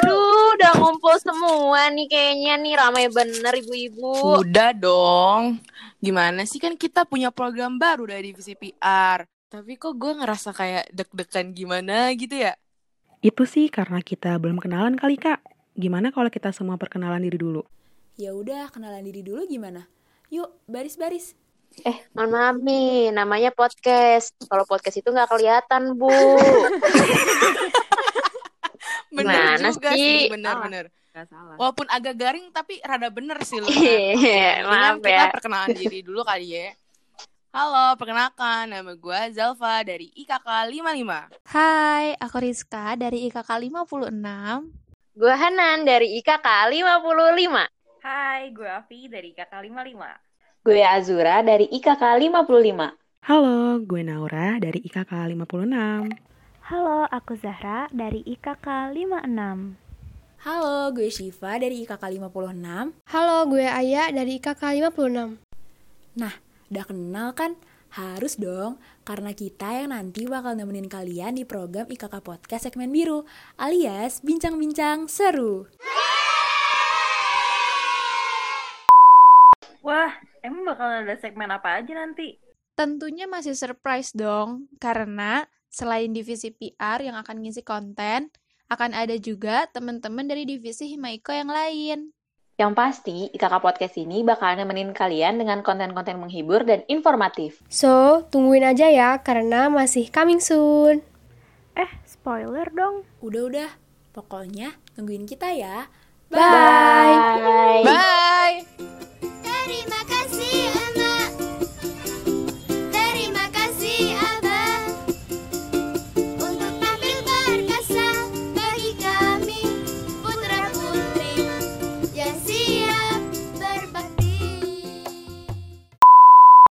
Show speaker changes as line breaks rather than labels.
Aduh, udah ngumpul semua nih kayaknya nih ramai bener ibu-ibu.
Udah dong. Gimana sih kan kita punya program baru dari divisi PR. Tapi kok gue ngerasa kayak deg-degan gimana gitu ya?
Itu sih karena kita belum kenalan kali kak. Gimana kalau kita semua perkenalan diri dulu?
Ya udah, kenalan diri dulu gimana? Yuk, baris-baris.
Mohon maaf nih, namanya podcast. Kalau podcast itu nggak kelihatan, Bu.
Bener
Gimana
juga
sih?
sih, bener-bener.
Gak salah.
Walaupun agak garing tapi rada bener sih lu.
Iya,
Mendingan
maaf ya.
Kita perkenalan diri dulu kali ya. Halo, perkenalkan nama gue Zalfa dari IKK 55.
Hai, aku Rizka dari IKK 56.
Gue Hanan dari IKK 55.
Hai, gue Avi dari KK55.
Gue Azura dari IKK 55.
Halo, gue Naura dari IKK 56.
Halo, aku Zahra dari IKK 56.
Halo, gue Shiva dari IKK 56.
Halo, gue Aya dari IKK 56.
Udah kenal kan? Harus dong, karena kita yang nanti bakal nemenin kalian di program IKK Podcast segmen biru, alias bincang-bincang seru.
Wah, emang bakal ada segmen apa aja nanti?
Tentunya masih surprise dong, karena selain divisi PR yang akan ngisi konten, akan ada juga teman-teman dari divisi Himaiko yang lain.
Yang pasti, IKK Podcast ini bakal nemenin kalian dengan konten-konten menghibur dan informatif.
So, tungguin aja ya karena masih coming soon.
Eh, spoiler dong.
Udah-udah, pokoknya nungguin kita ya.
Bye!
Bye.